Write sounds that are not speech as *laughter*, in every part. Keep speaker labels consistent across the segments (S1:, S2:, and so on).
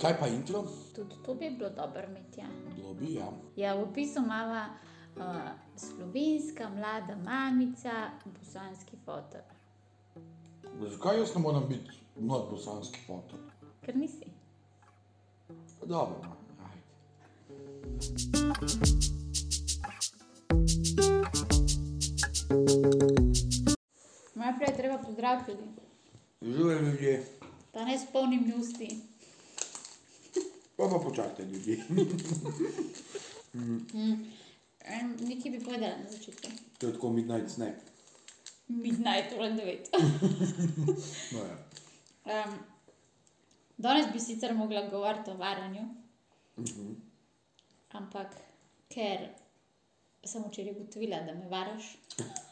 S1: Kaj pa intro?
S2: Tudi to bi bilo dobro imeti. Ja.
S1: Dobi, ja.
S2: Ja, v opisu imamo uh, slovenska mlada mamica, bosanski fotor.
S1: Zakaj jaz ne moram biti mlad bosanski fotor?
S2: Ker nisi.
S1: Dobro, no, ajde.
S2: Najprej je treba pozdraviti ljudi,
S1: Žive ljudje,
S2: da ne spomnim usti.
S1: pa pa počakajte ljudi.
S2: Hm. En, nekaj bi povedala na začetku.
S1: *laughs* to je tako midnight snack.
S2: Midnight, ura 9.
S1: No, ja.
S2: Um, danes bi sicer mogla govoriti o varanju,
S1: Mhm.
S2: ampak ker sem včeraj ugotovila, da me
S1: *laughs*
S2: varaš,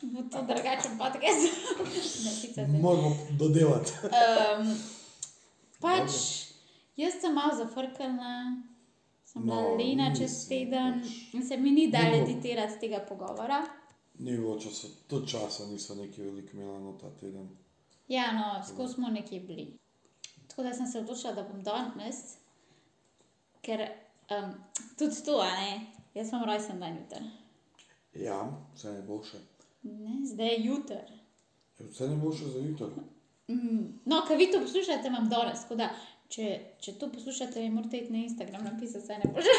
S2: bo to drugačen podcast. *laughs* ne, sicer ne.
S1: Moramo dodelati. *laughs*
S2: Um, pač jaz sem malo zafrkana, sem bila
S1: No,
S2: no, lena
S1: nisi,
S2: čez teden
S1: pač.
S2: in se mi ni dalo
S1: Ni bilo.
S2: editirati tega pogovora.
S1: Ni bilo časa, tudi časa nisem neki veliko imela na ta teden.
S2: Ja, no, skozi smo nekje bili. Tako da sem se odločila, da bom danes, ker um, tudi to, a ne, jaz sem rojsten dan jutra.
S1: Ja, vse ne bo še.
S2: Ne, zdaj je jutr.
S1: Ja, Vse ne bo še za jutro.
S2: Mm, no, ker vi to poslušate, imam danes. Tako da, če, če to poslušate, mi morate iti na Instagram napisati, saj ne bo že.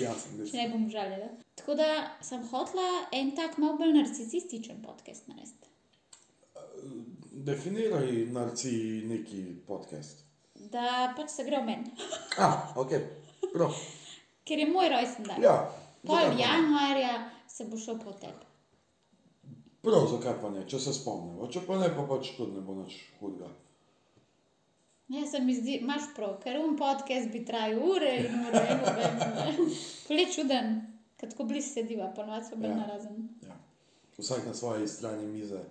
S1: Jasno, da
S2: Če
S1: je.
S2: ne bom žalela. Tako da sem hotla en tak malo bolj narcisističen podcast narediti.
S1: Definiraj narci neki podcast.
S2: Da pač se gre o meni,
S1: Ah, ok. Prav.
S2: ker je moj rojsten dan.
S1: Ja. zakaj pa
S2: Pol
S1: ne?
S2: januarja se bo šel po tebi.
S1: Prav, zakaj pa ne, če se spomnimo. Če pa ne, pa pač tudi ne bo nič hudega.
S2: Ja, se mi zdi, imaš prav, ker um podcast bi trajal ure in ure in ure. Kole čuden, kad ko blizu sediva, ponovadi smo bili
S1: Ja.
S2: ja. narazen.
S1: Ja. Vsak na svoji strani mize,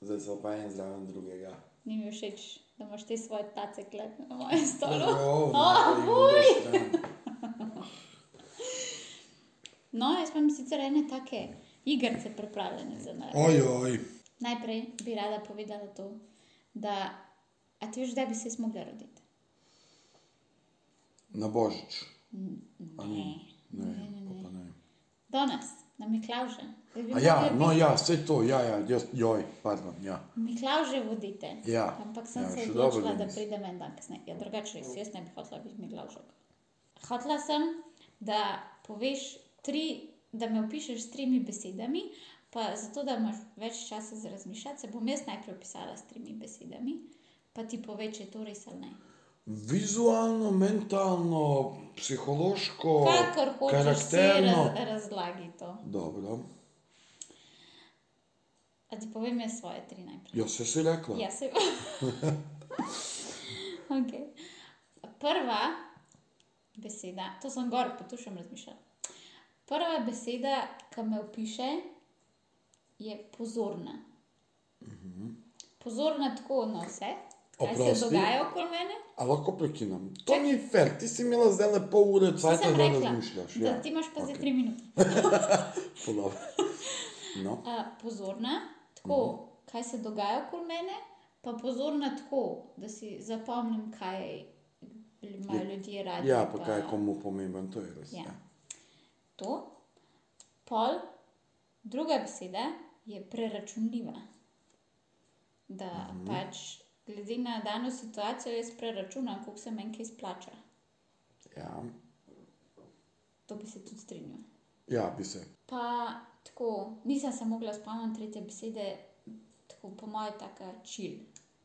S1: zdaj so pa en zraven drugega.
S2: Ni mi všeč, da imaš te svoje tace klep na mojem
S1: *laughs*
S2: stolu. *laughs* Oh.
S1: Zelo
S2: A,
S1: na drugi strani.
S2: No, jaz imam sicer ene take igrice pripravljene za nas.
S1: Ojoj.
S2: Najprej bi rada povedala to, da a ti veš, da bi se jaz mogla roditi.
S1: Na božič. A
S2: Ne.
S1: Ne, pa pa ne.
S2: Danes, na Miklauže.
S1: A ja, no ja, vse to, ja, ja, jaz, joj, pardon, ja.
S2: Miklauže vodite.
S1: Ja.
S2: Ampak sem
S1: Ja,
S2: ja, se
S1: še
S2: odločila,
S1: dobro,
S2: da
S1: Denis.
S2: pridem en dan kasneje. Ja, drugače res, jaz ne bi hotela biti Miklaužek. Hotela sem, da poveš tri, da me opišeš s tremi besedami, pa zato, da imaš več časa za razmišljati, se bom jaz najprej opisala s tremi besedami, pa ti pove, če je to res ali ne.
S1: Vizualno, mentalno, psihološko,
S2: Kakor hočeš, se
S1: karakterno.
S2: raz, razlagi to.
S1: Dobro,
S2: A ti povem jaz svoje tri najprej.
S1: ja, se si rekla.
S2: Ja, se *laughs* okay. Prva beseda, to sem gor, potušam razmišljati. Prva beseda, ki me opiše, je pozorna. Pozorna tako na vse, kaj
S1: Mhm. Oprosti.
S2: se dogaja okoli mene.
S1: A lahko prekinem? To ni fair, ti si imela zdaj le pol ure,
S2: To
S1: cajt,
S2: sem
S1: da
S2: rekla,
S1: razmišljaš. Ja,
S2: da ti imaš pa zdaj
S1: okej,
S2: tri minute. *laughs*
S1: podobno. No,
S2: A, pozorna,
S1: Mhm.
S2: tako, kaj se dogaja okoli mene, pa pozorna tako, da si zapomnim, kaj imajo ljudje radi.
S1: ja, pa kaj je komu pomemben, to je res.
S2: Ja.
S1: Ja.
S2: To. Pol, druga beseda je preračunljiva. Da mhm. pač glede na dano situacijo jaz preračunam, koliko se meni kaj splača.
S1: Ja,
S2: To bi se tudi strinjal.
S1: ja bi se.
S2: Pa tako, nisem se mogla spomniti tretje besede, tako po mojem, tako čil,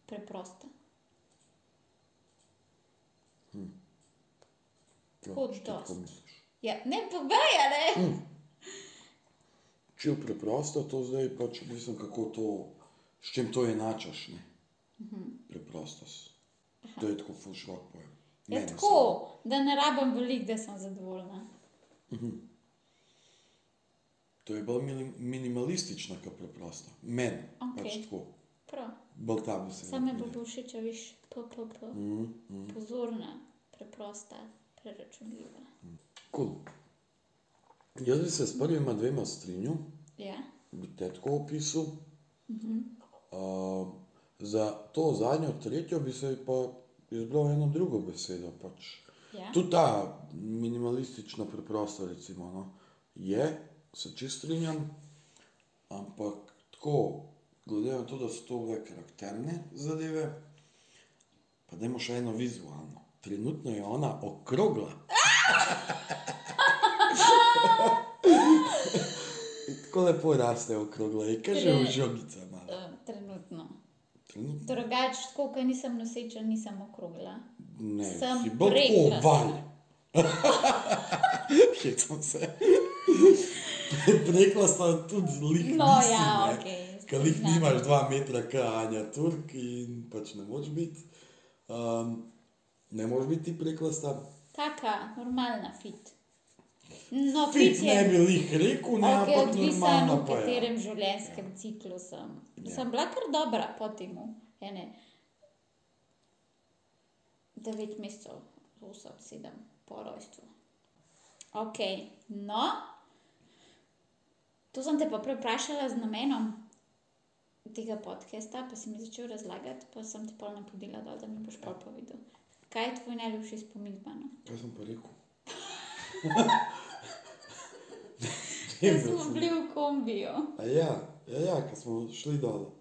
S2: preprosta. Tako
S1: če ti
S2: dost.
S1: misliš.
S2: Ja, ne povej, a ne.
S1: Čil preprosto, to zdaj pač mislim, kako to, s čim to enačaš. Ne?
S2: Mhm.
S1: Preprosto. To je tako fušrok pojem.
S2: Ja,
S1: Meni
S2: tako, da ne rabim veliko, da sem zadovoljna.
S1: se- To je bolj minim, minimalistično, kot preprosto. Meni
S2: Okej.
S1: pač tako.
S2: Prav.
S1: Bolj ta bi se. Mhm,
S2: Same bo bo všeč, če viš, PPP. Pozorna, preprosta, preračunljiva.
S1: Cool. Jaz bi se s prvima dvema strinjal,
S2: Ja,
S1: bi te tako opisal. Uh, za to zadnjo, tretjo bi se pa je bila ena druga beseda. Pač.
S2: Ja.
S1: Tudi ta minimalistična preprosta, recimo, no, je, se čist strinjam, ampak tako, glede na to, da so to bile karakterne zadeve, pa dajmo še eno vizualno. Trenutno je ona okrogla. *laughs* In tako lepo raste okrogla, je kar že v žogica malo.
S2: Eh, Trenutno.
S1: Trenutno
S2: Drugač, tako, ker nisem noseča, nisem okrogla.
S1: ne,
S2: Sem
S1: si bolj
S2: prekla.
S1: oval.
S2: *laughs*
S1: Hecam se. Prekla sta tudi lih.
S2: No,
S1: nisi,
S2: ja,
S1: ne.
S2: ok.
S1: Ker jih
S2: spoznam.
S1: nimaš dva metra, kot Anja Turk in pač ne moreš biti. Um, ne moreš biti preklasta.
S2: Taka, normalna fit. No, fit,
S1: Fit
S2: je.
S1: ne bi jih rekel, ne,
S2: Ok,
S1: Ja, ampak
S2: odvisno,
S1: normalno
S2: v
S1: pa je.
S2: katerem življenjskem ciklu sem.
S1: Ja.
S2: Sem bila kar dobra po tem, ene. Devet mesecev, osem, sedem po rojstvu. Ok, no. To sem te pa prej vprašala z namenom tega podcasta, pa si mi začel razlagati, pa sem ti pol napodila dol, da mi boš pol povedal. Kaj je tvoj najljubši spomin z mano?
S1: Kaj sem pa
S2: *laughs*
S1: rekel?
S2: Da
S1: Vem, da
S2: smo
S1: sem-
S2: bili v kombiju.
S1: A *laughs* ja, ja, ja ko smo šli dol,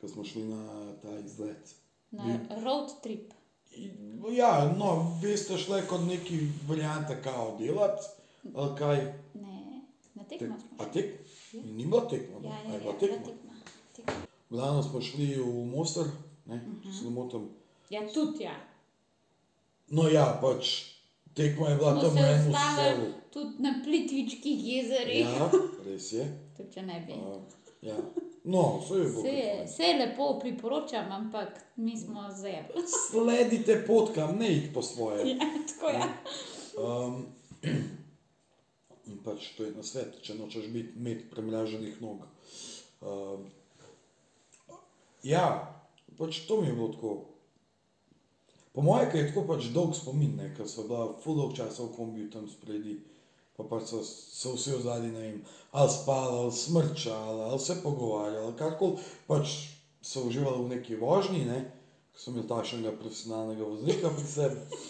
S1: ko smo šli na ta izlet.
S2: Na
S1: Bil.
S2: road trip.
S1: In, Ja, no, vi ste šli kot neki varianta, kao delati, ali kaj.
S2: Ne, na
S1: Tek,
S2: tekmo smo
S1: a
S2: šli.
S1: tek? Ni bila tekma, no?
S2: Ja,
S1: a
S2: ja,
S1: je
S2: ja,
S1: bila
S2: bila
S1: tekma.
S2: tekma. tekma.
S1: Glavno smo šli v Mostar, ne, če se ne motim.
S2: Ja, tudi ja.
S1: No ja, pač tekma je bila
S2: Smo
S1: tam v
S2: se
S1: enem selu.
S2: ustavili tudi na Plitvičkih jezerih. Ja.
S1: Ja, res je.
S2: Tudi če ne bi.
S1: Uh, ja. No, vse je
S2: Vse je,
S1: bilo.
S2: vse je lepo priporočam, ampak mi smo zebli.
S1: Sledite potkam, ne id po svoje.
S2: *laughs* Ja, tako je. Ja.
S1: Um, *clears throat* in pač to je na svet, če nočeš biti med premraženih nog. Um, ja, pač to mi je bilo tako. Po mojem, ker je tako pač dolg spomin, ne, ker so bila full dolg časa v kombiju tam spredi, pa pač so, so vsi v zadnji, ne vem, ali spala, ali smrčala, ali se pogovarjala, ali karkoli, pač so uživali v neki vožnji, ne, ker sem imel takšnega profesionalnega voznika pri sebi.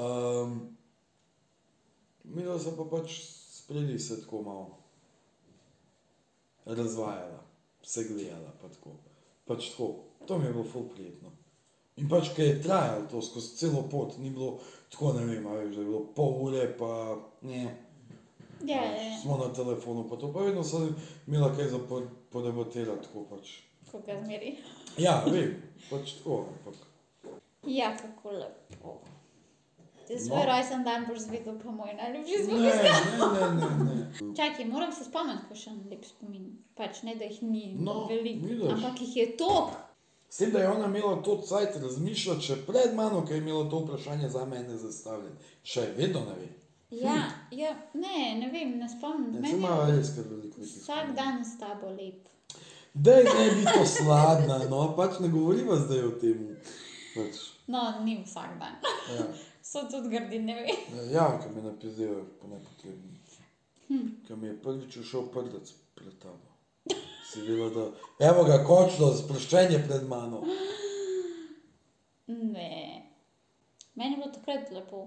S1: Um, mi da so pa pač spredi se tako malo razvajala, se gledala, pa tako. Pač tako, to mi je bilo ful prijetno. In pač, ker je trajalo to skozi celo pot, ni bilo tako, ne vem, a veš, da je bilo pol ure, pa ne,
S2: Ja,
S1: pač
S2: ja.
S1: smo na telefonu, pa to pa vedno sem imela kaj za po- podebatirati, tako pač.
S2: Ko ga zmeri.
S1: Ja, vem, pač tako, ampak.
S2: Ja, kako lepo. Za
S1: No.
S2: svoj rojsten dan boš zvedel, pa moj najljubši
S1: Ne,
S2: zvok.
S1: ne, ne, ne. ne.
S2: Čakaj, moram se spomniti, ko še en lep spomin. Pač ne, da jih ni
S1: No,
S2: veliko,
S1: vidiš.
S2: ampak jih je toliko.
S1: S tem, da je ona imela to cajt razmišljati še pred mano, ker je imela to vprašanje za mene zastavljeno. Še vedno ne ve.
S2: Ja, ja, ne, ne vem, ne spomnim.
S1: Ne,
S2: Meni
S1: se
S2: je
S1: ima res kar veliko nekih
S2: vsak
S1: spominov.
S2: dan s tabo lep.
S1: Daj ne biti osladna, no pač ne govoriva zdaj o tem. Pač,
S2: No, ni vsak dan. *laughs*
S1: ja,
S2: So tudi grdi, ne vem.
S1: ja ki me napizejo po nepotrebni.
S2: Hm.
S1: Ker mi je prvič ušel prdec pred tabo. Si videla, da evo ga končno, sproščenje pred mano.
S2: Ne. Meni je bilo takrat lepo,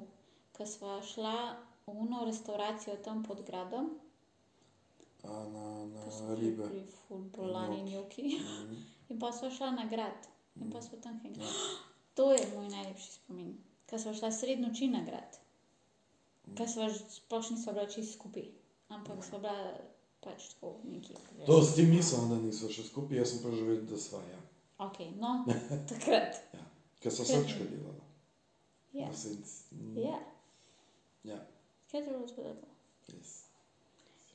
S2: ko smo šla v uno restauracijo tam pod gradom.
S1: A na,
S2: pa
S1: na
S2: so bili
S1: ribe.
S2: pri Fulbolani
S1: Njoki.
S2: njoki.
S1: Mhm.
S2: In pa smo šla na grad. In pa smo tam hengli.
S1: Ja.
S2: *gasps* To je moj najlepši spomin. Ko smo šla sredi noči na grad. Ko smo ž- sploh nismo bila čisto skupaj. Ampak smo bila pač tako nekje.
S1: To s ti mislim, da niso še skupaj, jaz sem pa že vedela, da sva ja.
S2: Ok, no, *laughs* takrat.
S1: ja. Ker so srčka delala.
S2: Ja,
S1: Na senci. Mm,
S2: ja.
S1: ja,
S2: Kaj je bilo zgodilo?
S1: res.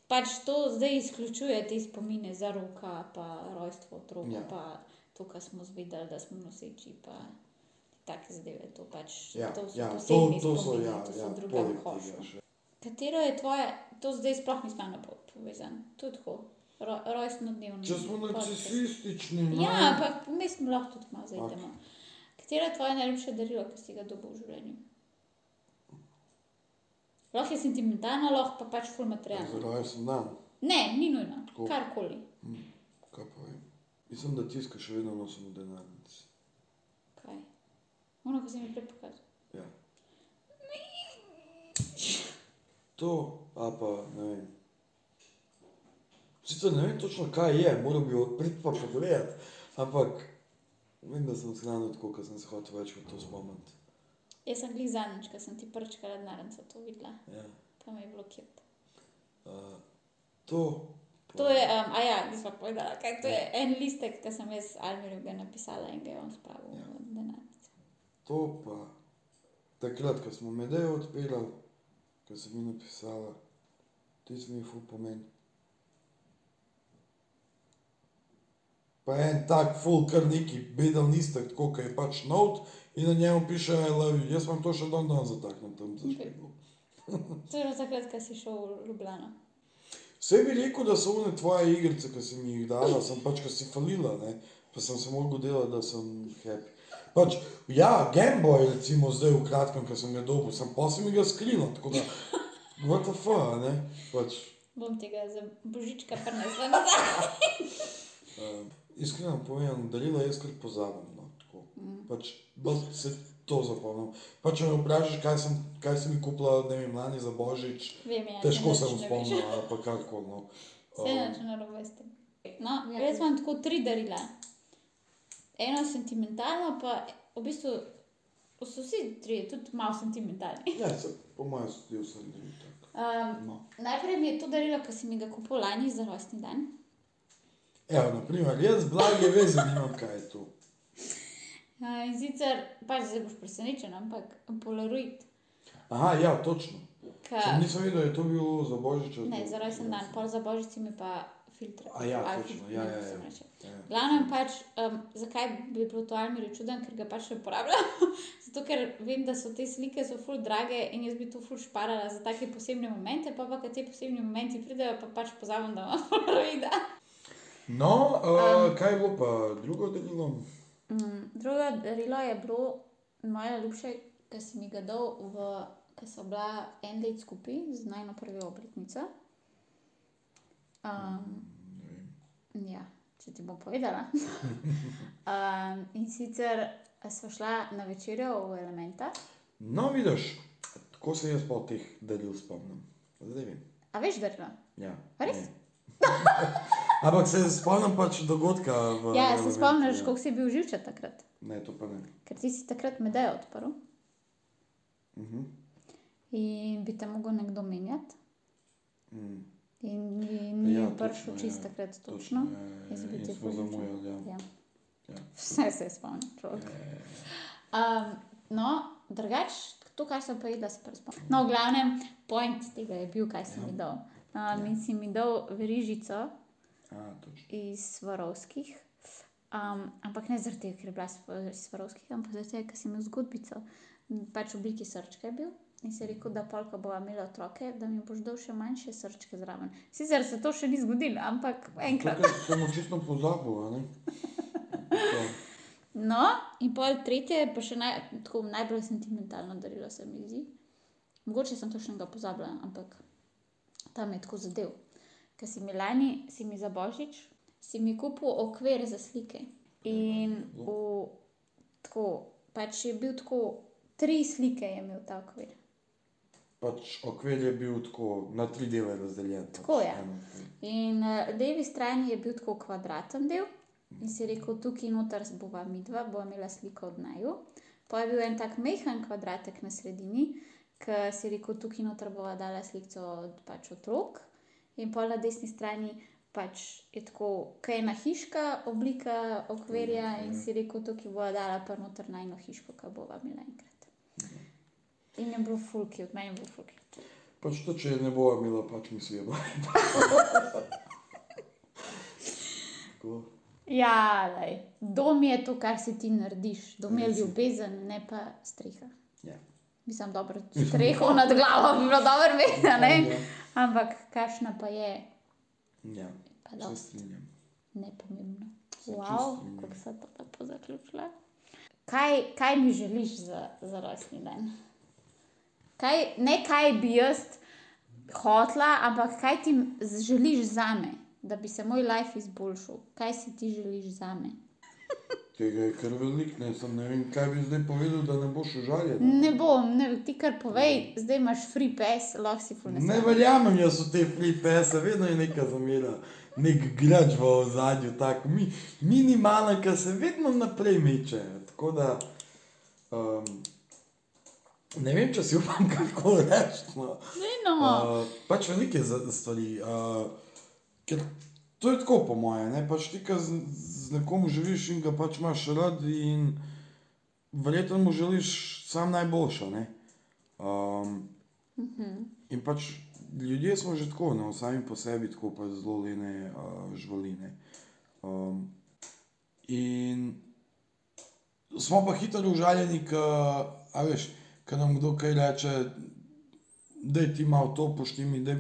S2: Pač to zdaj izključuje te spomine za roka, pa rojstvo otroka,
S1: Ja.
S2: ja. pa to, kar smo zvedeli, da smo noseči, pa take zadeve. To pač
S1: Ja,
S2: to so
S1: ja, to,
S2: posebni
S1: to so,
S2: spomini,
S1: ja,
S2: to so
S1: ja,
S2: druga Mhm.
S1: poleg tega
S2: košnja.
S1: še.
S2: Katero je tvoje, to zdaj sploh nisem na pol povezan, to je tako, ro, rojstno dnevno.
S1: Če smo narcisistični, no.
S2: Ja, ampak mi smo lahko tudi malo
S1: Ok.
S2: zajdemo. Katero je tvoje najljubše darilo, ki si ga dobil v življenju? Lahko je sentimentalno, lahko pa pač ful materialno.
S1: Zelo jaz sem dan,
S2: Ne, ni nujno,
S1: Tako.
S2: karkoli.
S1: Mhm. kaj pa vem. Mislim, da tiska še vedno nosim v denarnici.
S2: Kaj? Ono, Vzemi prepokaz.
S1: Ja. To, a pa ne vem. Sicer ne vem točno, kaj je, moral bi odpreti pa pogledati, ampak vem, da sem zgnano tako, ker sem se hotel več v to spomniti.
S2: Jaz sem glih zadnjič, ko sem ti prčkala denarnico to videla,
S1: Ja.
S2: pa me je blokiral.
S1: Uh, to,
S2: To je, um, a ja, nisva povedala, kaj to je. En listek, ki sem jaz Almirju ga napisala in ga je on spravil
S1: Ja.
S2: v denarnico.
S1: to pa takrat, ko smo Medejo odpirali, ko sem mi napisala, ti si mi ful pomen. Pa en tak ful kar neki beden listek, tako kot je pač not in na njemu piše I love you. Jaz imam to še dan dan zataknem tam za špeglo.
S2: To je bilo takrat, ko si šel v Ljubljano.
S1: Vse bi rekel, da so one tvoje igrice, ki si mi jih dala, sem pač, ko si falila, ne? pa sem se mogel delati, da sem happy. Pač, ja, Game Boy, recimo zdaj v kratkem, ko sem ga dobil, sem pa sem ga skrila, tako da, what the fuck, ne, pač,
S2: Bom tega za božička prinesla
S1: *laughs*
S2: nazaj.
S1: uh, iskreno povedano, darila jaz kar pozabim, no, tako,
S2: Mm.
S1: pač, bolj se to zapomnim. Pač, če me vprašaš, kaj sem, kaj sem mi kupila, ne vem, lani za božič,
S2: Vem, ja,
S1: težko
S2: nič
S1: se bom
S2: ne veš.
S1: spomnila, ali pa karkoli, no.
S2: Vse je
S1: Um,
S2: način narobe s tem. No,
S3: Ja.
S2: jaz imam tako tri darila. Eno sentimentalno, pa v bistvu so vsi trije tudi malo sentimentalni.
S1: ja, se, po mojem, stil sem bil tak,
S2: Um,
S1: no.
S2: najprej mi je to darilo, ki si mi ga kupil lani za rojstni dan.
S1: Evo, naprimer, jaz blage veze nimam, kaj je to.
S2: Uh, in sicer, pač zdaj boš presenečen, ampak Polaroid,
S1: Aha, ja, točno.
S2: ki
S1: Sem nisem videl, da je to bilo za božič. ali
S2: ne,
S1: to-
S2: za rojsten dan, pol za božič si mi pa filtre.
S1: A ja,
S2: ali
S1: točno,
S2: filtre,
S1: ja,
S2: ne,
S1: ja,
S2: kako se
S1: ja.
S2: reče.
S1: Ja.
S2: V Glavnem pač, um, zakaj bi bilo to Almirju čuden, ker ga pač ne uporabljam. *laughs* Zato, ker vem, da so te slike so ful drage in jaz bi to ful šparala za take posebne momente, pa pa, ko ti posebni momenti pridejo, pa pač pozabim, da imam *laughs* polaroida.
S1: No, uh, kaj bo pa drugo delilo?
S2: Mm, drugo darilo je bilo moje najljubše, ki si mi ga dal, ko so bila en let skupaj z najno prvo obletnico.
S1: Mm,
S2: Um, Ja, če ti bom povedala. *laughs* um, in sicer smo šla na večerjo v Elementa.
S1: No, vidiš, tako se jaz pa teh delil spomnim. Zdaj vem.
S2: A veš, drno?
S1: Ja,
S2: A res?
S1: ne. *laughs* Ampak se spomnim pač dogodka v.
S2: Ja, se
S1: elementu,
S2: spomniš,
S1: ja.
S2: kako si bil živčen takrat,
S1: Ne, to pa ne.
S2: ker ti si takrat medejo odprl
S1: Mhm.
S2: in bi te mogel nekdo menjati.
S1: Mm,
S2: In ni- ni
S1: Ja,
S2: ja, prišel
S1: točno,
S2: čist
S1: ja,
S2: takrat točno.
S1: točno, ja, ja,
S2: Jaz bi
S1: ja,
S2: te
S1: in smo
S2: poživčala.
S1: zamujali, ja.
S2: Ja.
S1: Ja.
S2: Vse se je spomnil človek.
S1: Eh,
S2: Um, no, drugač, to, kar sem pa jedla, se pa spomnim. No, v glavnem, point tega je bil, kaj si
S1: Ja.
S2: mi dal. Um, in si mi dal verižico
S1: A, točno.
S2: iz Svarovskih. Um, ampak ne zaradi tega, ker je bila sv- iz Svarovskih, ampak zaradi tega, ker sem imel zgodbico. M, Pač v obliki srčka je bil in si rekel, da polka bova imela otroke, da mi boš dal še manjše srčke zraven. Sicer se to še ni zgodilo, ampak enkrat.
S1: Tukaj sem očitno pozabil, a ne? To.
S2: No, in pol tretje, je pa še naj, tako najbolj sentimentalno darilo se mi zdi. Mogoče sem točnega pozabila, ampak tam je tako zadev. Ker si mi lani, si mi za božič, si mi kupil okvir za slike. In v, tako, pač je bil tako, tri slike je imel ta okvir.
S1: Pač okvir je bil tako na tri dele razdeljen. pač
S2: Tako je.
S1: Eno,
S2: In na levi strani je bil tako kvadraten del in si rekel, tukaj noter bova midva, bova imela sliko od naju. Pa je bil en tak mehen kvadratek na sredini, ki si rekel, tukaj noter bova dala sliko od pač otrok. In pa na desni strani pač je tako, kaj je ena hiška, oblika okvirja in si rekel, tukaj bova dala pa noter najno hiško, ki bova imela enkrat. In je bilo fulki, od meni je bilo fulki.
S1: Pač to, če ne bo imela, pač mislijo. tako.
S2: Ja, lej. dom je to, kar si ti narediš. Dom je
S1: Res je.
S2: ljubezen, ne pa streha.
S1: Ja.
S2: Mislim,
S1: *laughs*
S2: dobro, streho nad glavo bi bilo dobro vedno, ne?
S1: Ja.
S2: Ampak kakšna pa je,
S1: Ja,
S2: pa
S1: se
S2: da
S1: strinjam.
S2: nepomembno.
S1: Se
S2: Wow,
S1: čisto strinjam.
S2: kako se to lepo zaključila. Kaj, kaj mi želiš za, za rojstni dan? Kaj, ne kaj bi jaz hotla, ampak kaj ti z- želiš za me, da bi se moj life izboljšal? Kaj si ti želiš za me?
S1: tega je kar velik, ne, sem ne vem, kaj bi zdaj povedal, da ne boš užaljen.
S2: Ne bom, ne, ti kar povej, zdaj imaš free pass, lahko si fulnes.
S1: Ne verjamem jaz v te flipese, vedno je neka zamera, nek grač v ozadju, tako mi, minimalen, ki se vedno naprej meče. Tako da, um, ne vem, če si upam *laughs* kako reči. No.
S2: No,
S1: Uh, pač velike za- stvari. Uh, ker to je tako, po mojem, ne? pač ti, ki z, z nekom živiš in ga pač imaš rad, in verjetno mu želiš sam najboljše. ne. Um, in pač ljudje smo že tako, no, sami po sebi, tako pa zelo lene uh, živaline. Um, in smo pa hitro užaljeni, ko nam kdo kaj reče, da ti malo to poštimi, da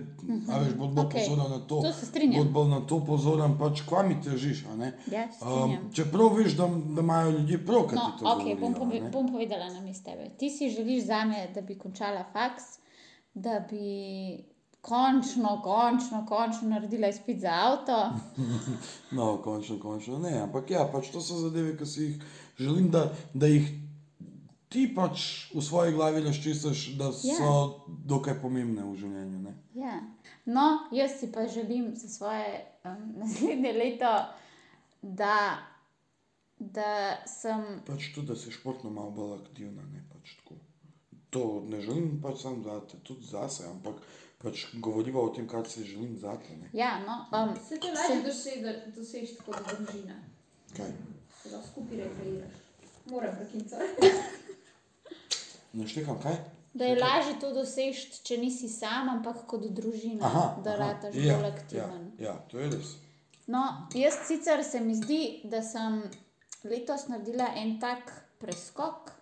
S1: veš, bod bolj
S2: Mhm. okej.
S1: pozoren na to,
S2: to se strinjam.
S1: bod bolj na to pozoren, pač kva mi težiš. a ne.
S2: Ja, se
S1: Um,
S2: strinjam.
S1: čeprav veš, da, da imajo ljudje prav, kaj
S2: No,
S1: ti to
S2: ok,
S1: govorijo,
S2: bom,
S1: a
S2: pove,
S1: ne.
S2: bom povedala na mestu tebe. Ti si želiš za me, da bi končala faks, da bi končno, končno, končno naredila izpit za
S1: *laughs*
S2: avto.
S1: No, končno, končno ne. Ampak ja, pač to so zadeve, ki si jih želim, da, da jih ti pač v svoji glavi razčistiš, da so
S2: Ja.
S1: dokaj pomembne v življenju. Ne?
S2: Ja. No, jaz si pa želim za svoje um, *laughs* naslednje leto, da, da sem
S1: Pač tudi, da si športno malo bolj aktivna, ne pač tako. To ne želim pač sam zate, tudi zase, ampak pač govoriva o tem, kaj si želim zate. Ne?
S2: Ja, no, um,
S3: Se to lažje doseže, dosež kot družina,
S1: Kaj?
S3: se lahko skupaj rekreiraš. Moram prekinca.
S1: Naštekam kaj?
S2: da je lažje to doseči, če nisi sam, ampak kot družina, da rataš
S1: ja,
S2: bolj aktiven.
S1: Ja, ja, to je res.
S2: No, jaz sicer se mi zdi, da sem letos naredila en tak preskok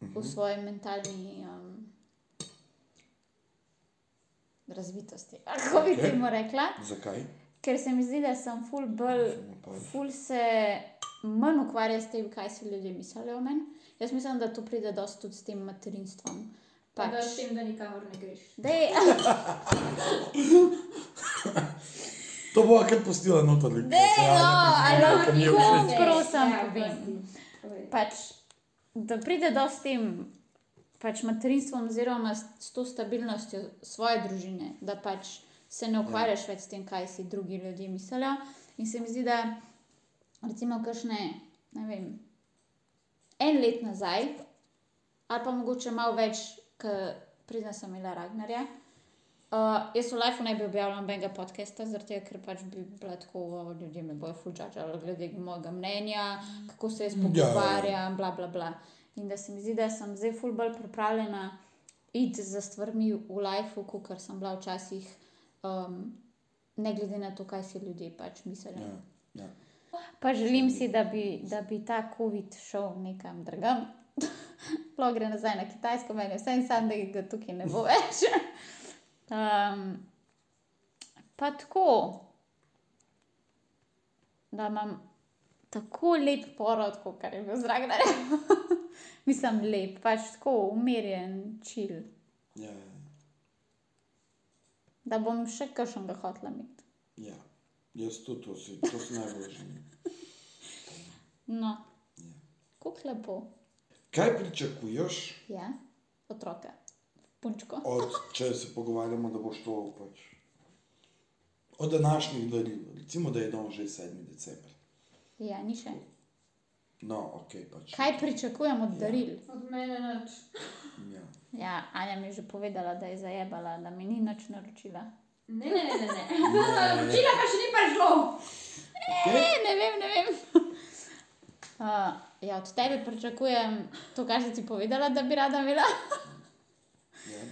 S2: v
S1: Mhm.
S2: svoji mentalni um, razvitosti. Kako bi
S1: Ok.
S2: temu rekla?
S1: Zakaj?
S2: Ker se mi zdi, da sem ful bolj,
S1: Samo pazi.
S2: ful se manj ukvarja s tem, kaj si ljudje mislijo o meni. Jaz mislim, da to pride dosti tudi s tem materinstvom.
S3: Pa da
S2: Pač,
S3: s tem, da nikamor ne greš.
S2: *laughs* dej,
S1: To bo kar pustila noter. Ne,
S2: no, ali lahko
S1: mi je
S2: nikoli
S1: všeč.
S2: Prav sam
S3: Ja,
S2: povem.
S3: prosti. Povej.
S2: pač, da pride dosti s tem pač materinstvom, oziroma s s to stabilnostjo svoje družine, da pač se ne ukvarjaš več s tem, kaj si drugi ljudje mislijo. In se mi zdi, da recimo kakšne, ne vem, en let nazaj, ali pa mogoče malo več, ker pridem sem imela Ragnarja. Uh, jaz v Life ne bi objavila nobenega podcasta, zaradi tega, ker pač bi bila tako, "O, ljudje me bojo fulčačali glede mojega mnenja, kako se jaz
S1: Ja, ja, ja.
S2: pogovarjam, bla bla bla. In da se mi zdi, da sem zdaj ful bolj pripravljena iti za stvarmi v lifeu, kot sem bila včasih, um, ne glede na to, kaj si ljudje pač mislijo.
S1: Ja, ja.
S2: Pa želim si, da bi, da bi ta COVID šel nekam drugam. *laughs* Lahko gre nazaj na Kitajsko, meni je vse en sam, da ga tukaj ne bo več. Um, pa tako, da imam tako lep porod, kot je bil zrak, da rečem. *laughs* Mislim, lep, pač tako umirjen, čil.
S1: Ja, ja,
S2: Da bom še kakšen ga hotla imeti.
S1: ja. Jaz tudi to si, to si najbolj želim.
S2: No, kako lepo.
S1: Kaj pričakuješ
S2: Ja, otroka, punčko.
S1: od, če se pogovarjamo, da boš to pač? Od današnjih daril, recimo, da je danes že 7. december.
S2: Ja, ni še.
S1: No, ok, pač.
S2: Kaj pričakujem od daril?
S3: Od mene nič.
S1: Ja.
S2: Ja, Anja mi je že povedala, da je zajebala, da mi ni nič naročila.
S3: Ne, ne, ne, ne. ne. Včeraj pa še ni prišlo.
S2: Ne, ne vem, ne vem. *laughs* Uh, ja, od tebe pričakujem to, kar si ti povedala, da bi rada imela.
S1: Ja.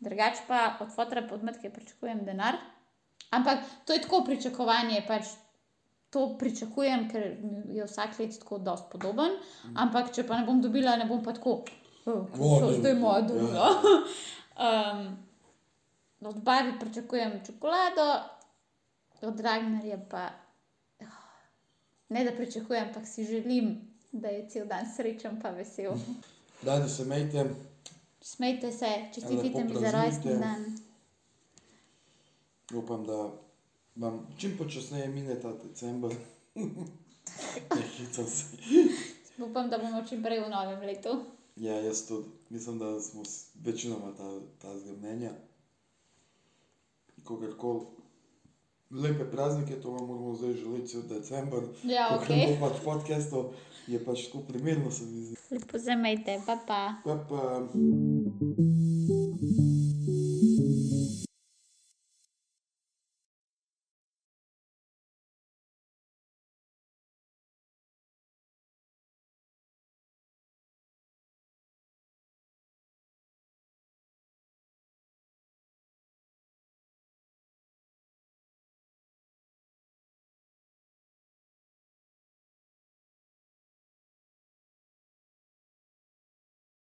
S2: Drugač pa od fotra podmetke pričakujem denar. Ampak to je tako pričakovanje, pač to pričakujem, ker mi je vsak let tako dosti podoben.
S1: Mm.
S2: Ampak če pa ne bom dobila, ne bom pa tako, "Oh, kaj
S1: O,
S2: je to
S1: ne,
S2: zdaj je moja
S1: ja.
S2: druga. *laughs* Um, od barve pričakujem čokolado, od Ragnarja pa oh, ne da pričakujem, ampak si želim, da je cel dan srečen pa vesel.
S1: Mhm. Danes se mejte,
S2: Smejte se, čestitite mi za
S1: Ja, praznujte.
S2: rojstni dan.
S1: upam, da vam čim počasneje mine ta december. *laughs* Ne hitam se.
S2: Upam, da bomo čim prej v novem letu.
S1: Ja, jaz tudi. Mislim, da smo s- večinoma ta, ta zgrmnenja. Kogarkoli. Lepe praznike, to vam moramo zdaj želeti cel december.
S2: Ja,
S1: Ko ne
S2: ok.
S1: bo pač podcastov, je pač tako primerno, se mi zdi. Ja,
S2: Lepo zamejte, pa pa.
S1: Pa, pa...